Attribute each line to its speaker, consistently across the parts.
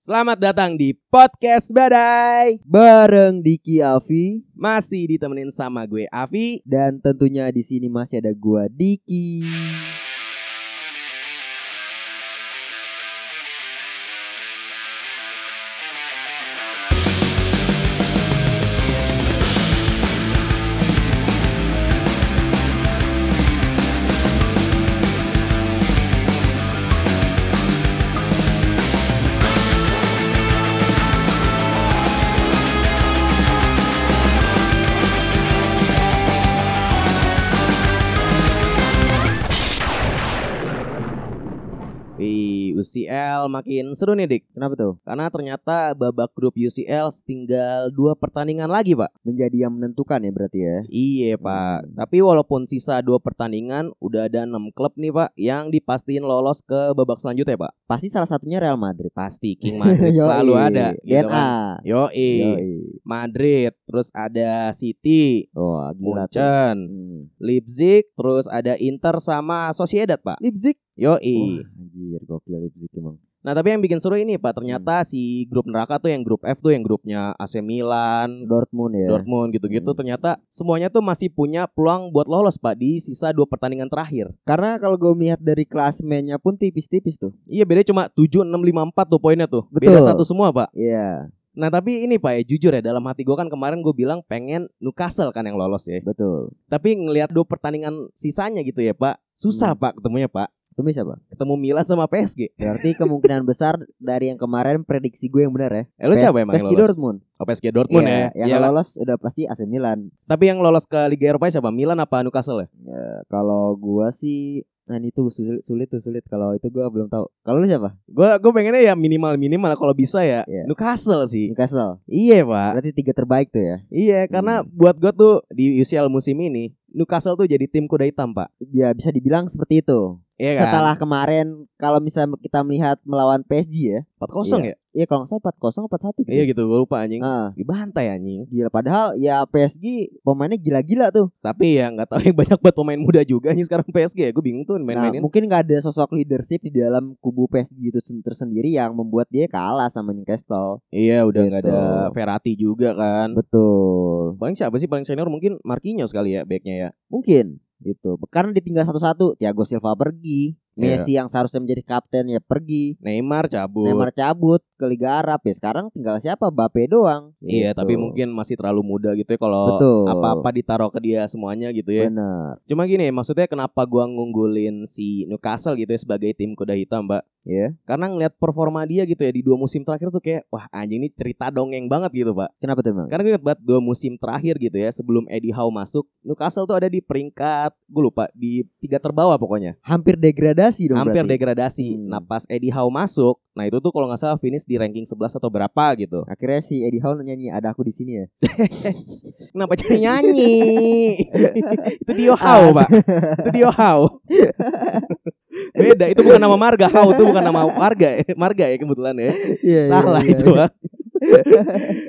Speaker 1: Selamat datang di Podcast Badai
Speaker 2: bareng Diki Avi
Speaker 1: Masih ditemenin sama gue Avi
Speaker 2: dan tentunya di sini masih ada gua Diki.
Speaker 1: Wih, UCL makin seru nih Dik
Speaker 2: Kenapa tuh?
Speaker 1: Karena ternyata babak grup UCL tinggal dua pertandingan lagi Pak
Speaker 2: Menjadi yang menentukan ya berarti ya. Hmm.
Speaker 1: Iya Pak Tapi walaupun sisa dua pertandingan Udah ada 6 klub nih Pak Yang dipastiin lolos ke babak selanjutnya Pak
Speaker 2: Pasti salah satunya Real Madrid.
Speaker 1: Pasti King Madrid
Speaker 2: Yoi.
Speaker 1: selalu ada gitu
Speaker 2: DNA.
Speaker 1: kan. Yoi,
Speaker 2: Yoi.
Speaker 1: Madrid, terus ada City,
Speaker 2: Wah, gila tuh.
Speaker 1: Munchen,
Speaker 2: Hmm.
Speaker 1: Leipzig, terus ada Inter sama Sociedad, Pak.
Speaker 2: Leipzig.
Speaker 1: Yoi.
Speaker 2: Wah, anjir gokil Leipzig emang.
Speaker 1: Nah, tapi yang bikin seru ini, Pak, ternyata
Speaker 2: Hmm.
Speaker 1: si grup neraka tuh yang grup F tuh yang grupnya AC Milan,
Speaker 2: Dortmund ya.
Speaker 1: Dortmund gitu-gitu
Speaker 2: Hmm.
Speaker 1: ternyata semuanya tuh masih punya peluang buat lolos, Pak, di sisa dua pertandingan terakhir.
Speaker 2: Karena kalau gue melihat dari klasmennya pun tipis-tipis tuh.
Speaker 1: Iya, beda cuma 7 6 5 4 tuh poinnya tuh. Beda
Speaker 2: Betul.
Speaker 1: satu semua, Pak.
Speaker 2: Iya,
Speaker 1: Nah, tapi ini, Pak, ya jujur ya dalam hati gua kan kemarin gue bilang pengen Newcastle kan yang lolos ya.
Speaker 2: betul.
Speaker 1: Tapi ngelihat dua pertandingan sisanya gitu ya, Pak. Susah, Pak, ketemunya, Pak.
Speaker 2: Tumis apa?
Speaker 1: Ketemu Milan sama PSG.
Speaker 2: Berarti kemungkinan besar dari yang kemarin prediksi gue yang benar ya.
Speaker 1: Eh, lu
Speaker 2: PS-
Speaker 1: siapa emang yang
Speaker 2: PSG
Speaker 1: lolos?
Speaker 2: Dortmund.
Speaker 1: Oh, PSG Dortmund
Speaker 2: Iya,
Speaker 1: ya.
Speaker 2: Yang
Speaker 1: Iya, lah.
Speaker 2: lolos udah pasti AC Milan.
Speaker 1: Tapi yang lolos ke Liga Eropa siapa? Milan apa Newcastle ya?
Speaker 2: Ya, kalau gua sih nah ini tuh sulit, sulit tuh sulit kalau itu gua belum tahu. Kalau lu siapa?
Speaker 1: Gua gua pengennya ya minimal-minimal kalau bisa ya
Speaker 2: Iya.
Speaker 1: Newcastle sih.
Speaker 2: Newcastle.
Speaker 1: Iya, Pak.
Speaker 2: Berarti tiga terbaik tuh ya.
Speaker 1: Iya, karena buat gua tuh di UCL musim ini Newcastle tuh jadi tim kuda hitam, Pak.
Speaker 2: Ya bisa dibilang seperti itu.
Speaker 1: Iya kan?
Speaker 2: Setelah kemarin kalau misalnya kita melihat melawan PSG ya.
Speaker 1: 4-0 ya?
Speaker 2: Iya kalau nggak salah 4-0 4-1 gitu.
Speaker 1: Iya gitu, gua lupa anjing.
Speaker 2: Nah,
Speaker 1: Dibantai anjing.
Speaker 2: gila padahal ya PSG pemainnya gila-gila tuh.
Speaker 1: Tapi ya nggak tahu yang banyak buat pemain muda juga nih sekarang PSG ya. Gue bingung tuh
Speaker 2: nah,
Speaker 1: main-mainin.
Speaker 2: mungkin nggak ada sosok leadership di dalam kubu PSG itu sen- tersendiri yang membuat dia kalah sama Newcastle.
Speaker 1: iya, udah nggak
Speaker 2: gitu.
Speaker 1: ada Verratti juga kan.
Speaker 2: Betul.
Speaker 1: Paling siapa sih paling senior mungkin Marquinhos kali ya backnya ya.
Speaker 2: Mungkin gitu. Karena ditinggal satu-satu, Thiago Silva pergi,
Speaker 1: Iya.
Speaker 2: Messi yang seharusnya menjadi kapten ya pergi,
Speaker 1: Neymar cabut.
Speaker 2: Neymar cabut ke Liga Arab ya. Sekarang tinggal siapa? Mbappe doang.
Speaker 1: Iya,
Speaker 2: Gitu.
Speaker 1: tapi mungkin masih terlalu muda gitu ya kalau
Speaker 2: Betul.
Speaker 1: apa-apa ditaruh ke dia semuanya gitu ya.
Speaker 2: benar.
Speaker 1: Cuma gini, maksudnya kenapa gua ngunggulin si Newcastle gitu ya sebagai tim kuda hitam, Mbak?
Speaker 2: Ya.
Speaker 1: Karena ngeliat performa dia gitu ya di dua musim terakhir tuh kayak wah anjing ini cerita dongeng banget gitu, Pak.
Speaker 2: Kenapa tuh emang?
Speaker 1: Karena gue ingat banget dua musim terakhir gitu ya sebelum Eddie Howe masuk, Newcastle tuh ada di peringkat gue lupa di tiga terbawah pokoknya.
Speaker 2: Hampir degradasi dong
Speaker 1: hampir
Speaker 2: berarti.
Speaker 1: degradasi.
Speaker 2: Hmm.
Speaker 1: Nah pas Eddie Howe masuk, nah itu tuh kalau nggak salah finish di ranking 11 atau berapa gitu.
Speaker 2: Akhirnya si Eddie Howe nyanyi ada aku di sini ya.
Speaker 1: Kenapa jadi nyanyi? itu Dio Howe pak. Itu Dio Howe. Beda, itu bukan nama marga Howe, itu bukan nama warga, ya. marga ya kebetulan ya.
Speaker 2: Iya,
Speaker 1: Salah
Speaker 2: iya,
Speaker 1: itu
Speaker 2: iya.
Speaker 1: Pak.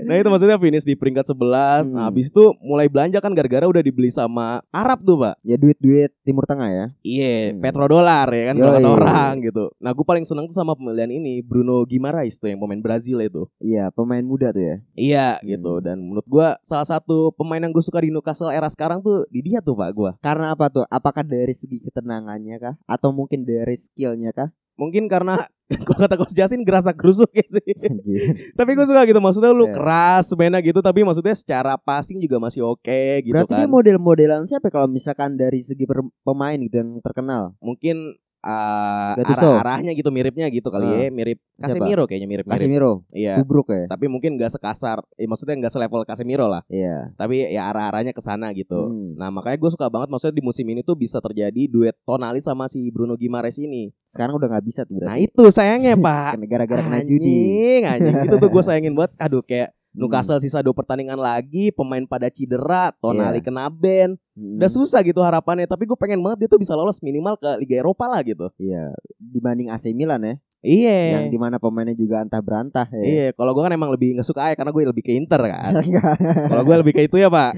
Speaker 1: nah itu maksudnya finish di peringkat 11 Nah
Speaker 2: Hmm.
Speaker 1: habis itu mulai belanja kan gara-gara udah dibeli sama Arab tuh pak
Speaker 2: Ya duit-duit Timur Tengah ya.
Speaker 1: Iya,
Speaker 2: Hmm.
Speaker 1: petrodolar ya kan kalau kata
Speaker 2: Yoi.
Speaker 1: orang gitu. Nah, gue paling seneng tuh sama pembelian ini Bruno Guimaraes tuh yang pemain Brazil itu.
Speaker 2: Iya, pemain muda tuh ya.
Speaker 1: Iya,
Speaker 2: Hmm.
Speaker 1: gitu. Dan menurut gua salah satu pemain yang gue suka di Newcastle era sekarang tuh di dia tuh Pak gua.
Speaker 2: Karena apa tuh? Apakah dari segi ketenangannya kah? Atau mungkin dari skillnya kah?
Speaker 1: Mungkin karena kalau kata Coach Jasin gerasa gerusuk ya sih.
Speaker 2: Anjir.
Speaker 1: tapi gue suka gitu maksudnya lu
Speaker 2: Iya.
Speaker 1: keras mainnya gitu tapi maksudnya secara passing juga masih oke gitu
Speaker 2: Berarti
Speaker 1: kan.
Speaker 2: dia model-modelan siapa ya kalau misalkan dari segi per- pemain gitu yang terkenal?
Speaker 1: mungkin uh,
Speaker 2: Gattuso.
Speaker 1: arah-arahnya gitu miripnya gitu kali ya mirip
Speaker 2: Ah. Siapa?
Speaker 1: Casemiro kayaknya mirip-mirip
Speaker 2: Casemiro,
Speaker 1: iya
Speaker 2: Kubruk ya.
Speaker 1: tapi mungkin nggak sekasar eh, maksudnya nggak selevel Casemiro lah
Speaker 2: Iya.
Speaker 1: tapi ya arah-arahnya ke sana gitu
Speaker 2: Hmm.
Speaker 1: nah makanya gue suka banget maksudnya di musim ini tuh bisa terjadi duet Tonali sama si Bruno Gimares ini
Speaker 2: Sekarang udah nggak bisa tuh
Speaker 1: nah
Speaker 2: berarti.
Speaker 1: itu sayangnya pak
Speaker 2: Karena gara-gara kena judi.
Speaker 1: Anjing, anjing itu tuh gue sayangin banget aduh kayak
Speaker 2: Hmm.
Speaker 1: Newcastle sisa dua pertandingan lagi, pemain pada cedera, Tonali kena ban,
Speaker 2: Iya. Hmm.
Speaker 1: udah susah gitu harapannya. Tapi gue pengen banget dia tuh bisa lolos minimal ke Liga Eropa lah gitu.
Speaker 2: Iya. Dibanding AC Milan ya,
Speaker 1: Iya.
Speaker 2: yang dimana pemainnya juga antah berantah ya.
Speaker 1: Iya, kalau gue kan emang lebih ngesuka aja karena gue lebih ke Inter kan.
Speaker 2: Nggak,
Speaker 1: kalau gue lebih ke itu ya pak.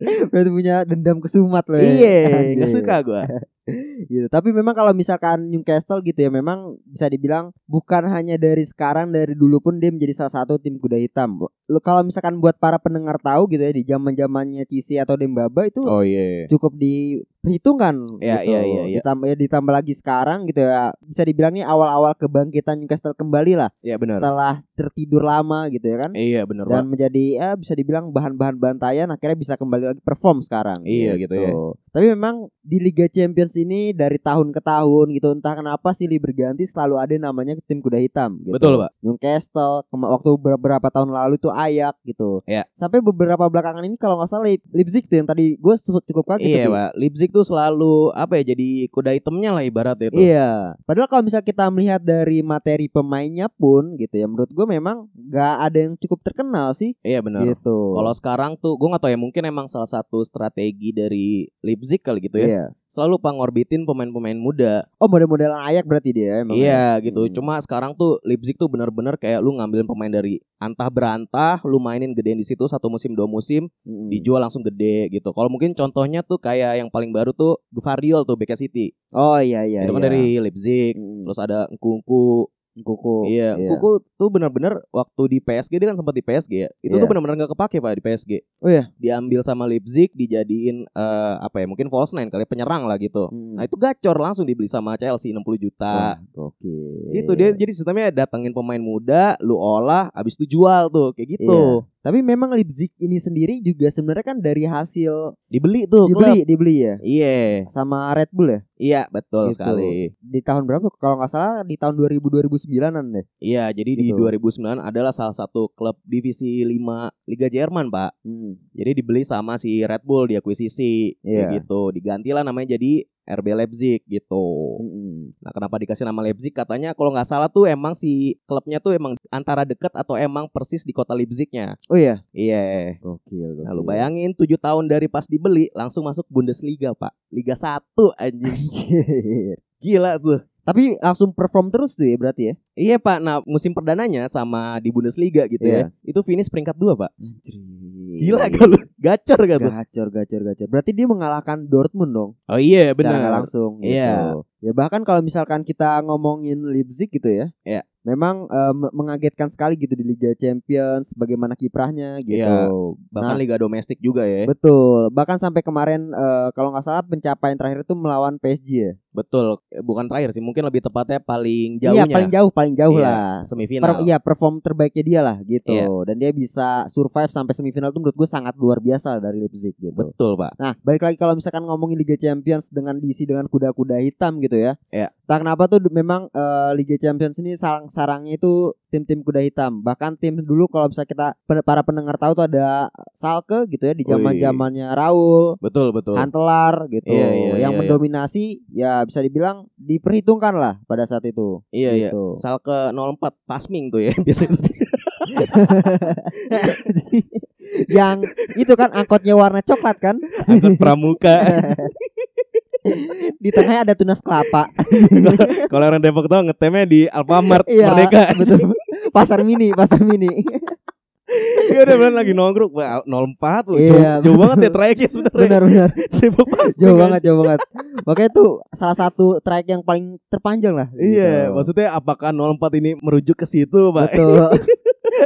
Speaker 2: berarti punya dendam kesumat loh. ya.
Speaker 1: iya,
Speaker 2: Anjing.
Speaker 1: nggak suka gue.
Speaker 2: gitu. Tapi memang kalau misalkan Newcastle gitu ya memang bisa dibilang bukan hanya dari sekarang dari dulu pun dia menjadi salah satu tim kuda hitam. Lo kalau misalkan buat para pendengar tahu gitu ya di zaman-zamannya Cici atau Dembaba itu
Speaker 1: Oh iya.
Speaker 2: cukup diperhitungkan
Speaker 1: Ya,
Speaker 2: gitu.
Speaker 1: ya, ya, ya.
Speaker 2: Ditambah ya, ditambah lagi sekarang gitu ya bisa dibilang nih awal-awal kebangkitan Newcastle kembali lah
Speaker 1: Iya benar.
Speaker 2: setelah tertidur lama gitu ya kan.
Speaker 1: Iya benar
Speaker 2: dan
Speaker 1: banget.
Speaker 2: menjadi ya bisa dibilang bahan-bahan bantayan akhirnya bisa kembali lagi perform sekarang.
Speaker 1: Iya, gitu ya.
Speaker 2: Tapi memang di Liga Champions ini dari tahun ke tahun gitu entah kenapa silih berganti selalu ada yang namanya tim kuda hitam gitu.
Speaker 3: Betul, Pak.
Speaker 2: Newcastle kema- waktu beberapa tahun lalu itu Ayak gitu.
Speaker 1: Iya.
Speaker 2: Sampai beberapa belakangan ini kalau nggak salah Leip- Leipzig tuh yang tadi gue cukup kaget
Speaker 1: Iya
Speaker 2: tuh.
Speaker 1: pak. Leipzig tuh selalu apa ya jadi kuda hitamnya lah ibarat itu.
Speaker 2: Iya, padahal kalau misalnya kita melihat dari materi pemainnya pun gitu ya, menurut gue memang nggak ada yang cukup terkenal sih
Speaker 1: Iya benar.
Speaker 2: gitu.
Speaker 1: Kalau sekarang tuh gue nggak tahu ya mungkin emang salah satu strategi dari Leipzig kali gitu ya.
Speaker 2: Iya.
Speaker 1: Selalu pengorbitin pemain-pemain muda.
Speaker 2: Oh model-modelan ayak berarti dia ya, emang.
Speaker 1: Iya gitu.
Speaker 2: Hmm.
Speaker 1: Cuma sekarang tuh Leipzig tuh bener-bener kayak lu ngambilin pemain dari antah berantah, lu mainin gedein di situ satu musim dua musim,
Speaker 2: Mm-mm.
Speaker 1: dijual langsung gede gitu. Kalau mungkin contohnya tuh kayak yang paling baru tuh Gvardiol tuh BK City.
Speaker 2: Oh iya iya.
Speaker 1: itu kan
Speaker 2: iya.
Speaker 1: dari Leipzig.
Speaker 2: Mm-mm.
Speaker 1: Terus ada Nkunku,
Speaker 2: kuku.
Speaker 1: iya, Nkunku tuh bener-bener waktu di PSG dia kan sempat di PSG ya. Itu tuh
Speaker 2: Iya.
Speaker 1: bener-bener nggak kepake pak di PSG.
Speaker 2: Oh, iya.
Speaker 1: Diambil sama Leipzig, dijadiin eh, apa ya? Mungkin false nine kali penyerang lah gitu.
Speaker 2: Mm.
Speaker 1: Nah itu gacor langsung dibeli sama Chelsea 60
Speaker 2: Wah, iya.
Speaker 1: juta.
Speaker 2: gokil.
Speaker 1: Gitu dia jadi sistemnya datengin pemain muda, lu olah, abis itu jual tuh kayak gitu.
Speaker 2: Tapi memang Leipzig ini sendiri juga sebenarnya kan dari hasil
Speaker 1: Dibeli tuh klub.
Speaker 2: dibeli dibeli ya
Speaker 1: Iya,
Speaker 2: sama Red Bull ya
Speaker 1: iya betul
Speaker 2: Gitu.
Speaker 1: sekali.
Speaker 2: di tahun berapa kalau nggak salah di tahun 2000 2009an deh.
Speaker 1: Iya, jadi di
Speaker 2: Gitu.
Speaker 1: 2009 adalah salah satu klub divisi 5 Liga Jerman, Pak.
Speaker 2: Mm.
Speaker 1: Jadi dibeli sama si Red Bull diakuisisi kayak
Speaker 2: Iya.
Speaker 1: gitu. Digantilah namanya jadi RB Leipzig gitu.
Speaker 2: Mm-mm.
Speaker 1: Nah, kenapa dikasih nama Leipzig? Katanya kalau nggak salah tuh emang si klubnya tuh emang antara dekat atau emang persis di kota Leipzignya.
Speaker 2: Oh iya.
Speaker 1: Iya.
Speaker 2: Gokil.
Speaker 1: Nah, lu
Speaker 2: gokil.
Speaker 1: bayangin 7 tahun dari pas dibeli langsung masuk Bundesliga, Pak. Liga 1 anjing.
Speaker 2: Anjir.
Speaker 1: Gila tuh.
Speaker 2: Tapi langsung perform terus tuh ya berarti ya.
Speaker 1: Iya, Pak. Nah, musim perdananya sama di Bundesliga gitu
Speaker 2: Iya. Hmm.
Speaker 1: ya. Itu finish peringkat 2, Pak.
Speaker 2: Anjir.
Speaker 1: Gila kalau
Speaker 2: iya.
Speaker 1: gacor gak tuh?
Speaker 2: Gacor gacor gacor. Berarti dia mengalahkan Dortmund dong.
Speaker 1: Oh iya,
Speaker 2: secara nggak
Speaker 1: benar.
Speaker 2: langsung gitu.
Speaker 1: Iya.
Speaker 2: Ya bahkan kalau misalkan kita ngomongin Leipzig gitu ya.
Speaker 1: Iya.
Speaker 2: Memang eh, me- mengagetkan sekali gitu di Liga Champions bagaimana kiprahnya gitu.
Speaker 1: Iya. Bahkan
Speaker 2: Nah.
Speaker 1: liga domestik juga ya.
Speaker 2: Betul. Bahkan sampai kemarin eh, kalau nggak salah pencapaian terakhir itu melawan PSG ya.
Speaker 1: Betul, Eh, bukan terakhir sih, mungkin lebih tepatnya paling jauhnya.
Speaker 2: Iya, paling jauh, paling jauh
Speaker 1: Iya,
Speaker 2: lah.
Speaker 1: semifinal.
Speaker 2: Per, iya, perform terbaiknya dia lah gitu.
Speaker 1: Iya.
Speaker 2: Dan dia bisa survive sampai semifinal itu menurut gue sangat luar biasa dari Leipzig gitu.
Speaker 1: Betul, Pak.
Speaker 2: Nah, balik lagi kalau misalkan ngomongin Liga Champions dengan diisi dengan kuda-kuda hitam gitu ya.
Speaker 1: Iya.
Speaker 2: Tak kenapa tuh du- memang eh, Liga Champions ini sarang-sarangnya itu tim-tim kuda hitam. Bahkan tim dulu kalau bisa kita pen- para pendengar tahu tuh ada Salke gitu ya di zaman-zamannya Raul,
Speaker 1: Betul, betul.
Speaker 2: Hantelar gitu.
Speaker 1: Iya, iya,
Speaker 2: yang
Speaker 1: iya,
Speaker 2: mendominasi ya bisa dibilang diperhitungkan lah pada saat itu.
Speaker 1: iya, iya.
Speaker 2: gitu.
Speaker 1: Salke 04 Pasming tuh ya biasanya.
Speaker 2: yang itu kan angkotnya warna coklat kan?
Speaker 1: Angkut pramuka.
Speaker 2: Di tengahnya ada tunas kelapa.
Speaker 1: Kalau orang Depok tahu ngetemnya di Alfamart
Speaker 2: Iya,
Speaker 1: Merdeka.
Speaker 2: betul. pasar mini, pasar mini.
Speaker 1: Iya, udah beneran lagi nongkrong, Pak. 04 lu.
Speaker 2: Iya,
Speaker 1: jauh, jauh
Speaker 2: betul.
Speaker 1: banget ya trayeknya sebenarnya.
Speaker 2: benar benar
Speaker 1: Depok Pasming.
Speaker 2: jauh
Speaker 1: kan.
Speaker 2: banget jauh banget makanya itu salah satu track yang paling terpanjang lah
Speaker 1: Iya,
Speaker 2: Gitu.
Speaker 1: maksudnya apakah 04 ini merujuk ke situ, Pak?
Speaker 2: betul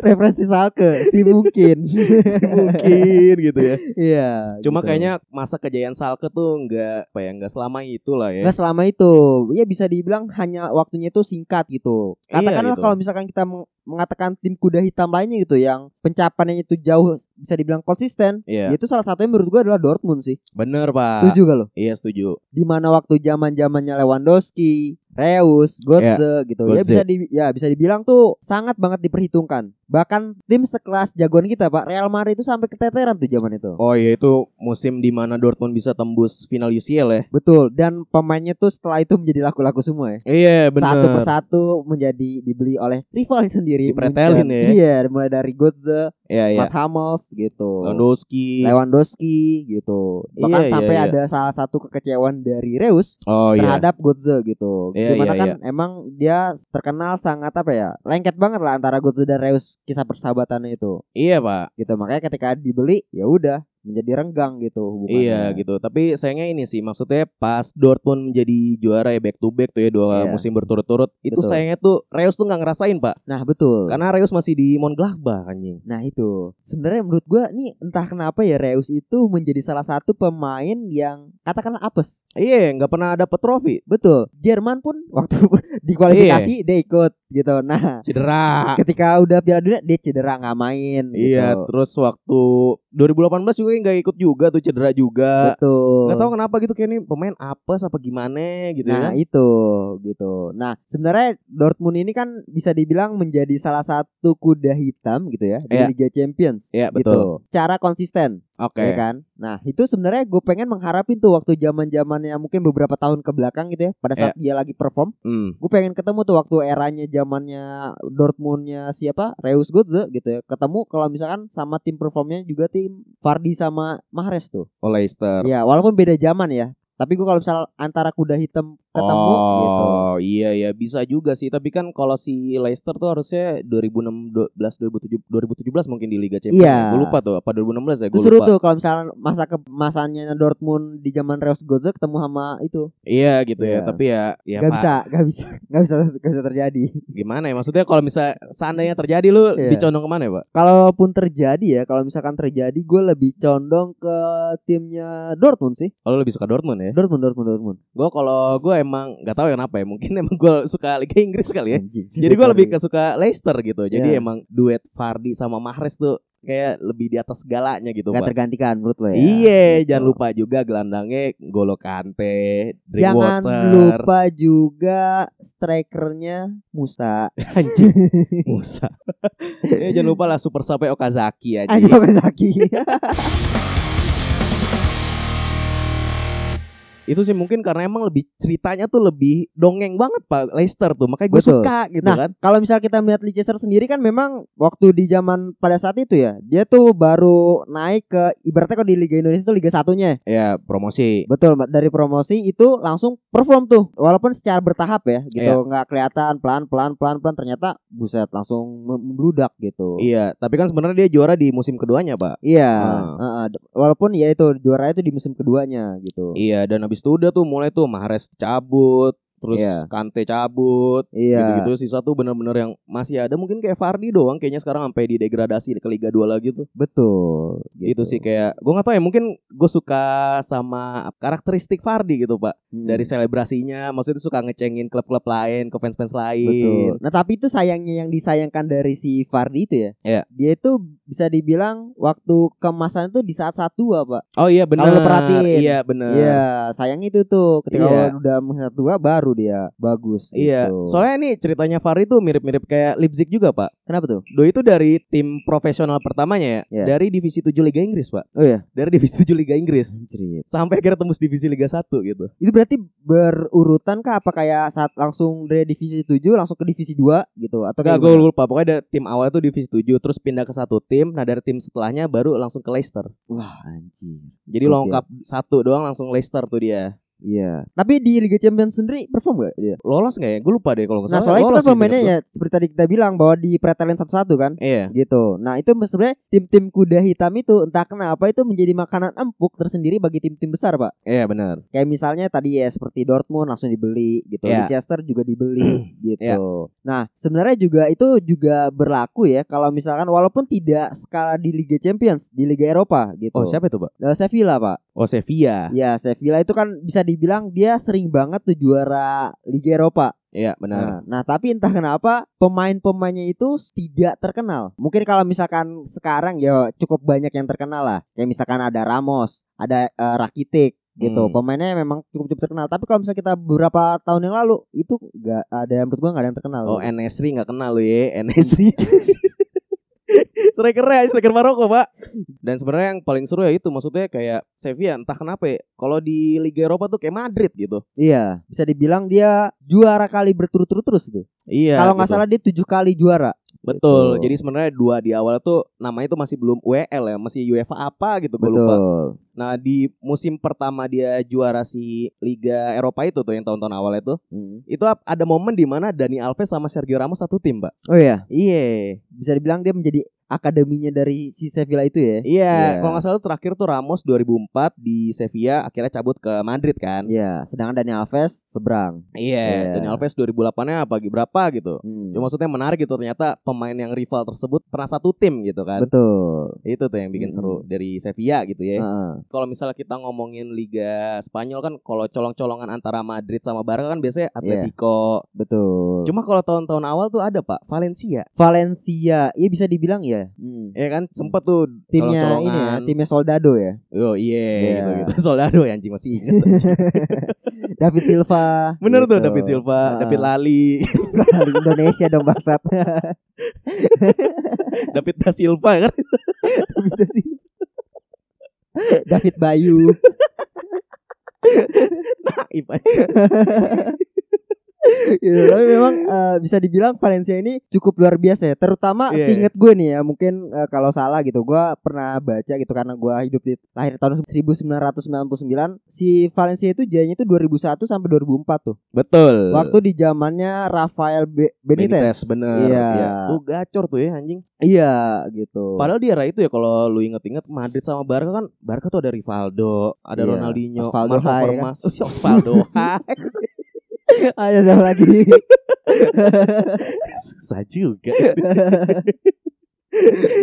Speaker 2: referensi Salke si mungkin
Speaker 1: Mungkin gitu ya.
Speaker 2: iya
Speaker 1: Cuma
Speaker 2: gitu.
Speaker 1: kayaknya masa kejayaan Salke tuh nggak apa ya, nggak selama itulah ya.
Speaker 2: Nggak selama itu ya bisa dibilang hanya waktunya itu singkat gitu
Speaker 1: Iya,
Speaker 2: katakanlah
Speaker 1: gitu.
Speaker 2: kalau misalkan kita meng- mengatakan tim kuda hitam lainnya gitu yang pencapaiannya itu jauh bisa dibilang konsisten ya
Speaker 1: Iya,
Speaker 2: itu salah satunya menurut gua adalah Dortmund sih
Speaker 1: bener Pak.
Speaker 2: setuju gak lo
Speaker 1: Iya setuju.
Speaker 2: di mana waktu zaman zamannya Lewandowski, Reus, Götze gitu ya
Speaker 1: Götze.
Speaker 2: bisa di ya bisa dibilang tuh sangat banget diperhitungkan. Bahkan tim sekelas jagoan kita Pak Real Madrid itu sampai keteteran tuh zaman itu.
Speaker 1: Oh iya itu musim di mana Dortmund bisa tembus final UCL ya.
Speaker 2: Betul dan pemainnya tuh setelah itu menjadi laku-laku semua ya.
Speaker 1: Iya
Speaker 2: Satu
Speaker 1: benar.
Speaker 2: persatu menjadi dibeli oleh rival sendiri.
Speaker 1: Dipretelin
Speaker 2: Munchen.
Speaker 1: ya.
Speaker 2: Iya, mulai dari Götze,
Speaker 1: Iya iya.
Speaker 2: Mats Hummels gitu.
Speaker 1: Lewandowski.
Speaker 2: Lewandowski gitu.
Speaker 1: Iya,
Speaker 2: Bahkan
Speaker 1: iya,
Speaker 2: sampai
Speaker 1: iya.
Speaker 2: ada salah satu kekecewaan dari Reus
Speaker 1: Oh iya.
Speaker 2: terhadap Godze gitu.
Speaker 1: Iya,
Speaker 2: Dimana
Speaker 1: iya,
Speaker 2: kan emang dia terkenal sangat apa ya? Lengket banget lah antara Godze dan Reus kisah persahabatannya itu.
Speaker 1: Iya Pak.
Speaker 2: Gitu makanya ketika dibeli ya udah menjadi renggang gitu
Speaker 1: Iya
Speaker 2: hubungannya.
Speaker 1: gitu. Tapi sayangnya ini sih maksudnya pas Dortmund menjadi juara ya back to back tuh ya dua
Speaker 2: Iya.
Speaker 1: musim berturut-turut itu
Speaker 2: Betul.
Speaker 1: sayangnya tuh Reus tuh nggak ngerasain pak
Speaker 2: Nah, betul.
Speaker 1: karena Reus masih di Mönchengladbach anjing.
Speaker 2: Nah itu sebenarnya menurut gua nih entah kenapa ya Reus itu menjadi salah satu pemain yang katakanlah apes.
Speaker 1: Iya nggak pernah dapet trofi.
Speaker 2: Betul. Jerman pun waktu di
Speaker 1: Iya.
Speaker 2: kualifikasi dia ikut gitu. Nah
Speaker 1: Cedera.
Speaker 2: ketika udah Piala Dunia dia cedera nggak main.
Speaker 1: Ah. Iya,
Speaker 2: gitu.
Speaker 1: terus waktu 2018 juga nggak ikut juga tuh cedera juga. Eh,
Speaker 2: Betul.
Speaker 1: Nggak tahu kenapa gitu kayak ini pemain apes apa gimana gitu ya.
Speaker 2: Nah itu gitu. Nah sebenarnya Dortmund ini kan bisa dibilang menjadi salah satu kuda hitam gitu ya di
Speaker 1: Iya.
Speaker 2: Liga Champions.
Speaker 1: Iya
Speaker 2: Gitu.
Speaker 1: betul.
Speaker 2: Secara konsisten.
Speaker 1: Oke.
Speaker 2: ya kan? Nah, itu sebenarnya gue pengen mengharapin tuh waktu zaman zamannya mungkin beberapa tahun ke belakang gitu ya,
Speaker 1: Iya.
Speaker 2: pada saat dia lagi perform,
Speaker 1: Hmm.
Speaker 2: gue pengen ketemu tuh waktu eranya zamannya Dortmundnya siapa, Reus Götze gitu ya, ketemu kalau misalkan sama tim performnya juga tim Vardy sama Mahrez tuh.
Speaker 1: Oh, Leicester.
Speaker 2: Ya, walaupun beda zaman ya, tapi gue kalau misal antara kuda hitam ketemu
Speaker 1: oh,
Speaker 2: gitu.
Speaker 1: iya ya bisa juga sih, tapi kan kalau si Leicester tuh harusnya 2016 2017 2017 mungkin di Liga Champions.
Speaker 2: Iya.
Speaker 1: Gue lupa tuh apa 2016 ya gue
Speaker 2: Itu seru
Speaker 1: lupa.
Speaker 2: tuh kalau misalnya masa kemasannya Dortmund di zaman Reus Götze ketemu sama itu.
Speaker 1: Iya gitu ya,
Speaker 2: Iya.
Speaker 1: tapi ya ya
Speaker 2: gak
Speaker 1: Pak,
Speaker 2: bisa, gak bisa, gak bisa, gak bisa terjadi.
Speaker 1: gimana ya? Maksudnya kalau misalnya seandainya terjadi lu
Speaker 2: Iya.
Speaker 1: dicondong kemana ya, Pak?
Speaker 2: Kalaupun terjadi ya, kalau misalkan terjadi, gue lebih condong ke timnya Dortmund sih.
Speaker 1: Kalau lebih suka Dortmund ya.
Speaker 2: Dortmund, Dortmund, Dortmund.
Speaker 1: Gue kalau gue emang nggak tahu ya kenapa ya. Mungkin emang gue suka Liga Inggris kali ya.
Speaker 2: Anjing.
Speaker 1: Jadi gue lebih ke suka Leicester gitu. Jadi
Speaker 2: Iya.
Speaker 1: emang duet Vardy sama Mahrez tuh kayak lebih di atas segalanya gitu
Speaker 2: Gak
Speaker 1: pak.
Speaker 2: tergantikan menurut lo ya.
Speaker 1: Iya,
Speaker 2: Gitu.
Speaker 1: jangan lupa juga gelandangnya Golo Kante,
Speaker 2: Jangan
Speaker 1: Drinkwater,
Speaker 2: lupa juga strikernya Musa.
Speaker 1: anjing Musa. Eh, jangan lupa lah Super Sampai Okazaki ya, aja.
Speaker 2: Anjo Kazaki.
Speaker 1: Itu sih mungkin karena emang lebih ceritanya tuh lebih dongeng banget Pak Leicester tuh. Makanya gue
Speaker 2: Betul.
Speaker 1: suka gitu
Speaker 2: Nah.
Speaker 1: kan.
Speaker 2: kalau misal kita melihat Leicester sendiri kan memang waktu di zaman pada saat itu ya, dia tuh baru naik ke ibaratnya kalau di Liga Indonesia itu Liga satunya.
Speaker 1: Ya, promosi.
Speaker 2: Betul, Mbak. dari promosi itu langsung perform tuh. Walaupun secara bertahap ya, gitu
Speaker 1: Iya.
Speaker 2: nggak kelihatan pelan-pelan pelan-pelan ternyata buset langsung mem- membludak gitu.
Speaker 1: Iya, tapi kan sebenarnya dia juara di musim keduanya, Pak.
Speaker 2: Iya,
Speaker 1: Ah.
Speaker 2: heeh. D- walaupun ya itu juara itu di musim keduanya gitu.
Speaker 1: Iya, dan habis itu udah tuh mulai tuh Mahrez cabut, terus
Speaker 2: Iya.
Speaker 1: Kante cabut,
Speaker 2: Iya.
Speaker 1: gitu-gitu sisa tuh bener-bener yang masih ada mungkin kayak Vardy doang kayaknya sekarang sampai di degradasi ke Liga 2 lagi tuh.
Speaker 2: Betul.
Speaker 1: Gitu. sih kayak gue nggak tahu ya mungkin gue suka sama karakteristik Vardy gitu pak
Speaker 2: Mm.
Speaker 1: dari selebrasinya maksudnya suka ngecengin klub-klub lain ke fans-fans lain.
Speaker 2: Betul. Nah, tapi itu sayangnya yang disayangkan dari si Fardi itu ya.
Speaker 1: Iya.
Speaker 2: Dia itu bisa dibilang waktu kemasan itu di saat saat dua, Pak.
Speaker 1: Oh iya benar.
Speaker 2: Kalau lu perhatiin.
Speaker 1: Iya benar.
Speaker 2: Iya, sayang itu tuh ketika
Speaker 1: Iya.
Speaker 2: udah musim dua baru dia bagus
Speaker 1: Iya,
Speaker 2: gitu.
Speaker 1: soalnya nih ceritanya Vardy tuh mirip-mirip kayak Leipzig juga, Pak.
Speaker 2: kenapa tuh?
Speaker 1: Doi itu dari tim profesional pertamanya ya,
Speaker 2: Iya.
Speaker 1: dari divisi 7 Liga Inggris, Pak.
Speaker 2: Oh iya.
Speaker 1: Dari divisi 7 Liga Inggris
Speaker 2: Anjir.
Speaker 1: sampai akhirnya tembus divisi Liga 1 gitu.
Speaker 2: Itu berarti berurutan kah apa kayak saat langsung dari divisi 7 langsung ke divisi 2 gitu atau
Speaker 1: Enggak
Speaker 2: kayak
Speaker 1: gue
Speaker 2: gimana?
Speaker 1: lupa Pokoknya dari tim awal itu divisi 7 Terus pindah ke satu tim Nah dari tim setelahnya baru langsung ke Leicester
Speaker 2: Wah, anjir.
Speaker 1: Jadi
Speaker 2: Oke.
Speaker 1: lengkap satu doang langsung Leicester tuh dia
Speaker 2: Iya. Tapi di Liga Champions sendiri perform gak dia?
Speaker 1: Lolos gak ya? Gue lupa deh kalau gak
Speaker 2: Nah,
Speaker 1: salah
Speaker 2: soalnya itu
Speaker 1: lolos
Speaker 2: kan
Speaker 1: sih
Speaker 2: pemainnya
Speaker 1: seingat
Speaker 2: ya seperti tadi kita bilang bahwa dipretelin satu-satu kan
Speaker 1: gua. Iya
Speaker 2: gitu. Nah, itu sebenarnya tim-tim kuda hitam itu entah kenapa itu menjadi makanan empuk tersendiri bagi tim-tim besar, Pak.
Speaker 1: Iya benar.
Speaker 2: Kayak misalnya tadi ya seperti Dortmund langsung dibeli gitu,
Speaker 1: Iya.
Speaker 2: Leicester juga dibeli gitu.
Speaker 1: Iya.
Speaker 2: Nah, sebenarnya juga itu juga berlaku ya kalau misalkan walaupun tidak skala di Liga Champions, di Liga Eropa gitu.
Speaker 1: Oh siapa itu Pak?
Speaker 2: Nah, Sevilla, Pak.
Speaker 1: Oh Sevilla
Speaker 2: Ya, Sevilla itu kan bisa dibilang dia sering banget tuh juara Liga Eropa.
Speaker 1: Iya benar
Speaker 2: Nah, nah, tapi entah kenapa pemain-pemainnya itu tidak terkenal. Mungkin kalau misalkan sekarang ya cukup banyak yang terkenal lah. Kayak misalkan ada Ramos, ada eh, Rakitic gitu.
Speaker 1: Hmm.
Speaker 2: Pemainnya memang cukup-cukup terkenal. Tapi kalau misalnya kita beberapa tahun yang lalu itu nggak ada menurut gua nggak ada yang terkenal.
Speaker 1: Oh Enesri gak kenal lu ya Enesri Striker ya, striker Maroko pak Dan sebenarnya yang paling seru ya itu Maksudnya kayak Sevilla entah kenapa ya Kalau di Liga Eropa tuh kayak Madrid gitu
Speaker 2: Iya, bisa dibilang dia juara kali berturut-turut terus tuh.
Speaker 1: Iya
Speaker 2: kalau nggak
Speaker 1: gitu.
Speaker 2: salah dia tujuh kali juara.
Speaker 1: Betul.
Speaker 2: Gitu.
Speaker 1: Jadi sebenarnya dua di awal tuh namanya tuh masih belum UEL ya, masih UEFA apa gitu gue lupa. Nah, di musim pertama dia juara si Liga Eropa itu tuh yang tahun-tahun awal itu,
Speaker 2: Mm.
Speaker 1: itu ap- ada momen di mana Dani Alves sama Sergio Ramos satu tim, Pak.
Speaker 2: Oh iya,
Speaker 1: Iya.
Speaker 2: bisa dibilang dia menjadi akademinya dari si Sevilla itu
Speaker 1: Iya,
Speaker 2: ya. Iya.
Speaker 1: kalau nggak salah terakhir tuh Ramos 2004 di Sevilla akhirnya cabut ke Madrid kan.
Speaker 2: Iya, sedangkan Dani Alves seberang. Iya.
Speaker 1: Dani Alves 2008-nya apa berapa gitu.
Speaker 2: Hmm.
Speaker 1: Ya, maksudnya menarik gitu ternyata pemain yang rival tersebut pernah satu tim gitu kan.
Speaker 2: Betul.
Speaker 1: Itu tuh yang bikin
Speaker 2: Mm.
Speaker 1: seru dari Sevilla gitu ya.
Speaker 2: Heeh.
Speaker 1: Kalau misalnya kita ngomongin Liga Spanyol kan kalau colong-colongan antara Madrid sama Barca kan biasanya
Speaker 2: Iya.
Speaker 1: Atletico.
Speaker 2: betul.
Speaker 1: Cuma kalau tahun-tahun awal tuh ada Pak, Valencia.
Speaker 2: Valencia, iya bisa dibilang ya. Hmm.
Speaker 1: Ya kan sempet tuh
Speaker 2: Timnya ini ya,
Speaker 1: colong-colongan.
Speaker 2: timnya Soldado ya.
Speaker 1: Yo iya
Speaker 2: Iya.
Speaker 1: gitu gitu. Soldado ya, anjing masih inget. anjing.
Speaker 2: David Silva.
Speaker 1: Bener tuh
Speaker 2: gitu.
Speaker 1: David Silva,
Speaker 2: Ah.
Speaker 1: David Lali,
Speaker 2: Dari Indonesia dong bangsat.
Speaker 1: David da Silva kan.
Speaker 2: David Silva. David Bayu.
Speaker 1: Naif aja. Iya,
Speaker 2: gitu. Tapi memang eh, bisa dibilang Valencia ini cukup luar biasa ya. Terutama
Speaker 1: Iya.
Speaker 2: seinget gue nih ya, mungkin eh, kalau salah gitu. Gue pernah baca gitu karena gue hidup di lahir tahun 1999. Si Valencia itu jayanya itu 2001 sampai 2004 tuh.
Speaker 1: Betul.
Speaker 2: Waktu di zamannya Rafael Be-
Speaker 1: Benitez
Speaker 2: Benitez.
Speaker 1: bener.
Speaker 2: Iya.
Speaker 1: Iya. Tuh gacor tuh ya anjing.
Speaker 2: Iya gitu.
Speaker 1: Padahal di era itu ya kalau lu inget-inget Madrid sama Barca kan Barca tuh ada Rivaldo, ada
Speaker 2: Iya.
Speaker 1: Ronaldinho,
Speaker 2: Osvaldo
Speaker 1: Marco
Speaker 2: Hai, kan?
Speaker 1: Formas, Oh, iya, Osvaldo. Hai.
Speaker 2: Ayo ah, siapa lagi?
Speaker 1: Susah juga.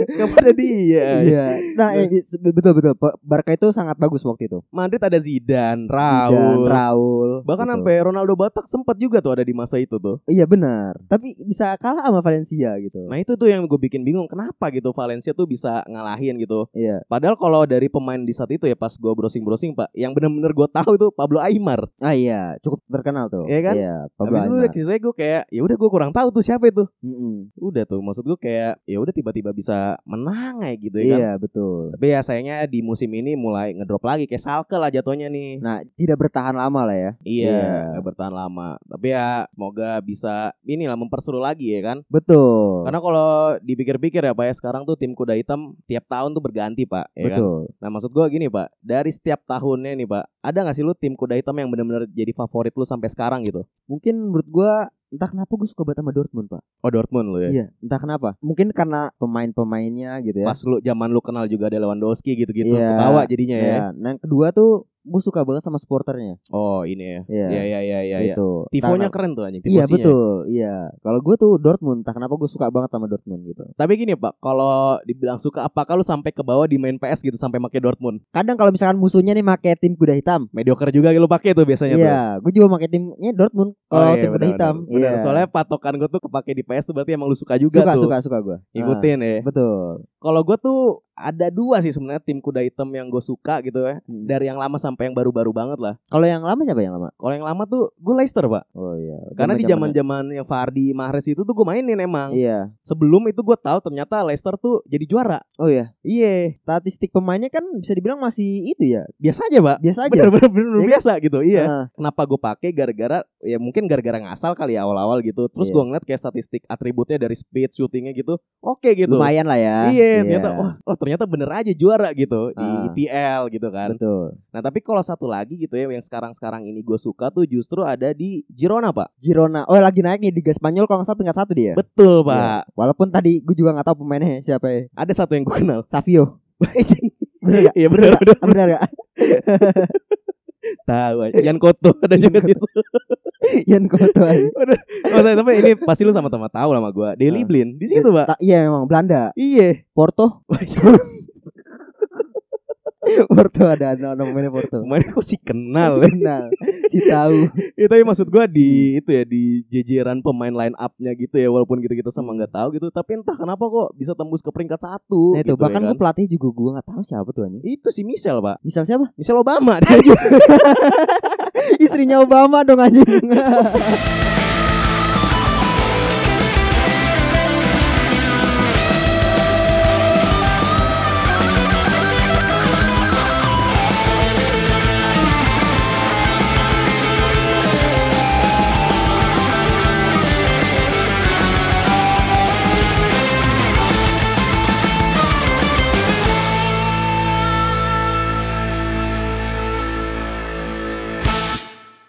Speaker 1: Gak pada dia.
Speaker 2: Iya. Nah, eh, betul betul. Barca itu sangat bagus waktu itu.
Speaker 1: Madrid ada Zidane,
Speaker 2: Dan
Speaker 1: Raul.
Speaker 2: Raul.
Speaker 1: Bahkan
Speaker 2: gitu.
Speaker 1: sampai Ronaldo Batak sempat juga tuh ada di masa itu tuh.
Speaker 2: Iya benar. Tapi bisa kalah sama Valencia gitu.
Speaker 1: Nah itu tuh yang gue bikin bingung kenapa gitu Valencia tuh bisa ngalahin gitu.
Speaker 2: Iya.
Speaker 1: Padahal kalau dari pemain di saat itu ya pas gue browsing-browsing pak, yang bener-bener gue tahu itu Pablo Aimar.
Speaker 2: Ah iya, cukup terkenal tuh.
Speaker 1: Iya kan?
Speaker 2: Iya, Pablo
Speaker 1: Habis itu
Speaker 2: Aimar.
Speaker 1: udah kisahnya gue kayak ya udah gue kurang tahu tuh siapa itu.
Speaker 2: Mm-mm.
Speaker 1: Udah tuh maksud gue kayak ya udah tiba-tiba bisa menang ya gitu ya kan.
Speaker 2: Iya, betul.
Speaker 1: Tapi ya sayangnya di musim ini mulai ngedrop lagi kayak Salke lah jatuhnya nih.
Speaker 2: Nah, tidak bertahan lama lah ya. Iya.
Speaker 1: Iya, nggak bertahan lama. Tapi ya semoga bisa inilah memperseru lagi ya kan.
Speaker 2: Betul.
Speaker 1: Karena kalau dipikir-pikir ya Pak ya sekarang tuh tim kuda hitam tiap tahun tuh berganti Pak. Ya kan?
Speaker 2: betul.
Speaker 1: Nah maksud gua gini Pak, dari setiap tahunnya nih Pak, ada nggak sih lu tim kuda hitam yang benar-benar jadi favorit lu sampai sekarang gitu?
Speaker 2: Mungkin menurut gua entah kenapa gue suka banget sama Dortmund, Pak.
Speaker 1: Oh Dortmund lu ya.
Speaker 2: Iya, entah kenapa. Mungkin karena pemain-pemainnya gitu ya.
Speaker 1: Pas lu zaman lu kenal juga ada Lewandowski gitu-gitu,
Speaker 2: Iya.
Speaker 1: ketawa jadinya ya.
Speaker 2: Iya. Nah, yang kedua tuh gue suka banget sama supporternya.
Speaker 1: Oh ini ya.
Speaker 2: Iya.
Speaker 1: Iya iya iya iya. iya.
Speaker 2: gitu.
Speaker 1: Tifonya ya?
Speaker 2: Karena-
Speaker 1: keren tuh anjing. tifosinya.
Speaker 2: Iya betul, iya. Kalau gue tuh Dortmund, entah kenapa gue suka banget sama Dortmund gitu.
Speaker 1: Tapi gini Pak, kalau dibilang suka apakah lu sampai ke bawah di main PS gitu sampai make Dortmund?
Speaker 2: Kadang kalau misalkan musuhnya nih make tim kuda hitam,
Speaker 1: Mediocre juga lu pakai tuh biasanya tuh.
Speaker 2: Iya, gue juga pakai timnya Dortmund
Speaker 1: Oh,
Speaker 2: kalau
Speaker 1: iya,
Speaker 2: tim kuda
Speaker 1: benar-benar.
Speaker 2: hitam.
Speaker 1: Benar,
Speaker 2: Iya.
Speaker 1: soalnya patokan gue tuh kepake di PS tuh berarti emang lu suka juga
Speaker 2: suka,
Speaker 1: tuh.
Speaker 2: suka, suka gue.
Speaker 1: Ikutin
Speaker 2: Nah.
Speaker 1: ya.
Speaker 2: betul.
Speaker 1: Kalau gue tuh ada dua sih sebenarnya tim kuda hitam yang gue suka gitu ya.
Speaker 2: Hmm.
Speaker 1: Dari yang lama sampai yang baru-baru banget lah.
Speaker 2: Kalau yang lama siapa yang lama?
Speaker 1: Kalau yang lama tuh gue Leicester pak.
Speaker 2: Oh iya.
Speaker 1: Karena di
Speaker 2: Zaman-zamannya.
Speaker 1: zaman-zaman yang Fardi, Mahrez itu tuh gue mainin emang.
Speaker 2: Iya.
Speaker 1: Sebelum itu gue tahu ternyata Leicester tuh jadi juara.
Speaker 2: Oh iya.
Speaker 1: Iya,
Speaker 2: Statistik pemainnya kan bisa dibilang masih itu ya,
Speaker 1: biasa aja pak.
Speaker 2: biasa aja.
Speaker 1: Bener-bener bener
Speaker 2: Iya kan?
Speaker 1: biasa gitu. Iya.
Speaker 2: Nah,
Speaker 1: Kenapa gue pakai gara-gara ya mungkin gara-gara ngasal kali ya awal-awal gitu. Terus
Speaker 2: Iya.
Speaker 1: gue ngeliat kayak statistik atributnya dari speed shootingnya gitu. Oke gitu.
Speaker 2: lumayan lah ya.
Speaker 1: Iya, ternyata wah, oh ternyata bener aja juara gitu di
Speaker 2: Ah.
Speaker 1: IPL gitu kan.
Speaker 2: Betul.
Speaker 1: Nah, tapi kalau satu lagi gitu ya yang sekarang-sekarang ini gue suka tuh justru ada di Girona, Pak.
Speaker 2: Girona. Oh, lagi naik nih Liga Spanyol kalau nggak salah peringkat satu dia.
Speaker 1: Betul,
Speaker 2: Iya.
Speaker 1: Pak.
Speaker 2: Walaupun tadi gue juga nggak tahu pemainnya siapa ya.
Speaker 1: Ada satu yang gue kenal.
Speaker 2: Savio. Bener gak?
Speaker 1: Iya, benar. benar.
Speaker 2: Ah, Bener gak?
Speaker 1: Tahu. Jan Koto ada
Speaker 2: Jan
Speaker 1: juga situ.
Speaker 2: Yan Koto aja.
Speaker 1: Oh, saya tapi ini pasti lu sama-sama tahu lah sama gue. Daily
Speaker 2: Ah.
Speaker 1: Blind di situ, Pak.
Speaker 2: Ta- Iya memang Belanda.
Speaker 1: Iya.
Speaker 2: Porto. Porto ada ada ada pemainnya Porto.
Speaker 1: Kemarin kok sih kenal.
Speaker 2: Kenal. Si tahu.
Speaker 1: Itu tapi maksud gue di itu ya di jejeran pemain line up-nya gitu ya walaupun kita-kita sama nggak tahu gitu, tapi entah kenapa kok bisa tembus ke peringkat satu.
Speaker 2: Nah itu
Speaker 1: gitu ya
Speaker 2: bahkan
Speaker 1: kan.
Speaker 2: gue pelatih juga gue nggak tahu siapa tuh anjing.
Speaker 1: Itu si Michelle pak
Speaker 2: Misal siapa?
Speaker 1: Michelle Obama dia.
Speaker 2: Istrinya Obama dong anjing.